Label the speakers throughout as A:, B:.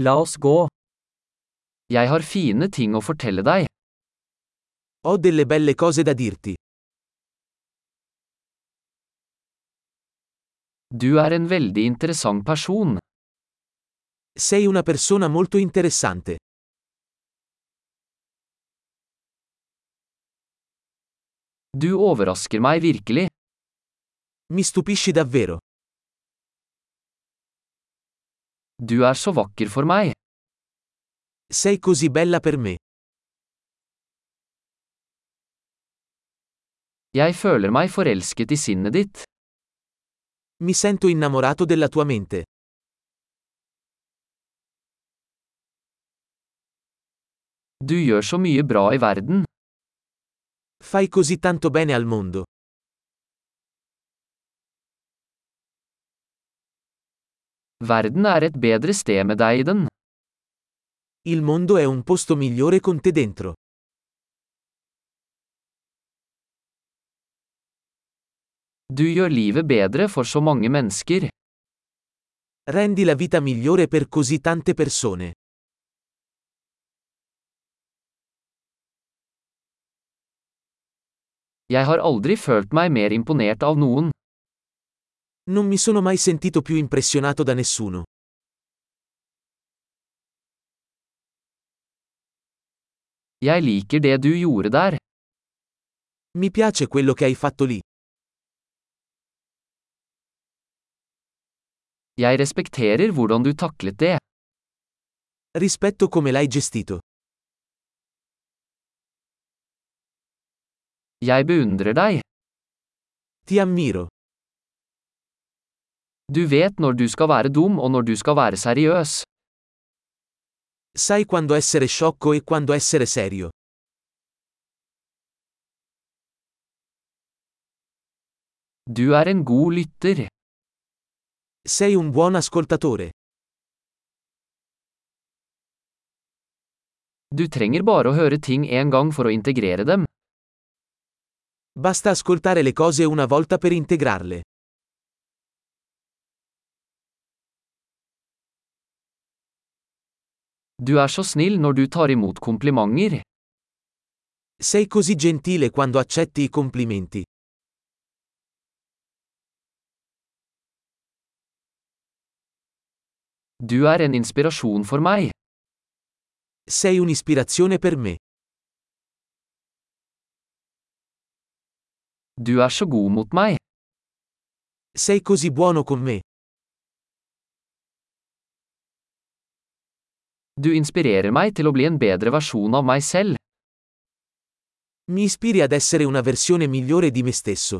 A: La oss gå. Jeg har fine ting å fortelle deg.
B: Ho delle belle cose da dirti.
A: Du er en veldig interessant person.
B: Sei una persona molto interessante.
A: Du overrasker meg virkelig.
B: Mi stupisci davvero.
A: Du er så vakker for meg.
B: Sei così bella per me.
A: Jeg føler meg forelsket i sinnet ditt.
B: Mi sento innamorato della tua mente.
A: Du gjør så mye bra i verden.
B: Fai così tanto bene al mondo.
A: Verden er et bedre sted med deg i den.
B: Il mondo è un posto migliore con te dentro.
A: Du gjør livet bedre for så mange mennesker.
B: Rendi la vita migliore per così tante persone.
A: Jeg har aldri følt meg mer imponert av noen.
B: Non mi sono mai sentito più impressionato da nessuno.
A: Jeg liker det du gjorde der.
B: Mi piace quello che hai fatto lì.
A: Jeg respekterer hvordan du taklet det.
B: Rispetto come l'hai gestito.
A: Jeg beundrer deg.
B: Ti ammiro.
A: Du vet når du skal være dum og når du skal være seriøs.
B: Sai quando essere sciocco e quando essere serio.
A: Du er en god lytter.
B: Sei un buon ascoltatore.
A: Du trenger bare å høre ting en gang for å integrere dem.
B: Basta ascoltare le cose una volta per integrarle.
A: Du er så snill når du tar imot komplimenter.
B: Sei così gentile quando accetti i complimenti.
A: Du er en inspirasjon for meg.
B: Sei un'ispirazione per me.
A: Du er så god mot meg.
B: Sei così buono con me.
A: Du inspirerer meg til å bli en bedre versjon av meg selv.
B: Mi ispiri ad essere una versione migliore di me stesso.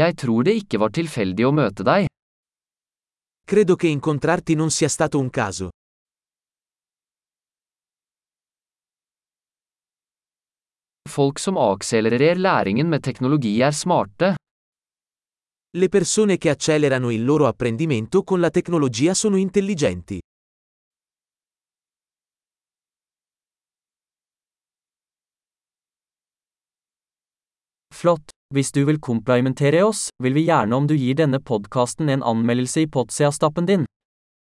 A: Jeg tror det ikke var tilfeldig å møte deg.
B: Credo che incontrarti non sia stato un caso.
A: Folk som akselererer læringen med teknologi er smarte.
B: Le persone che accelerano il loro apprendimento con la tecnologia sono intelligenti.
C: Flott. Hvis du vil komplimentere oss, vil vi gjerne om du gir denne podkasten en anmeldelse i Potsia-stappen din.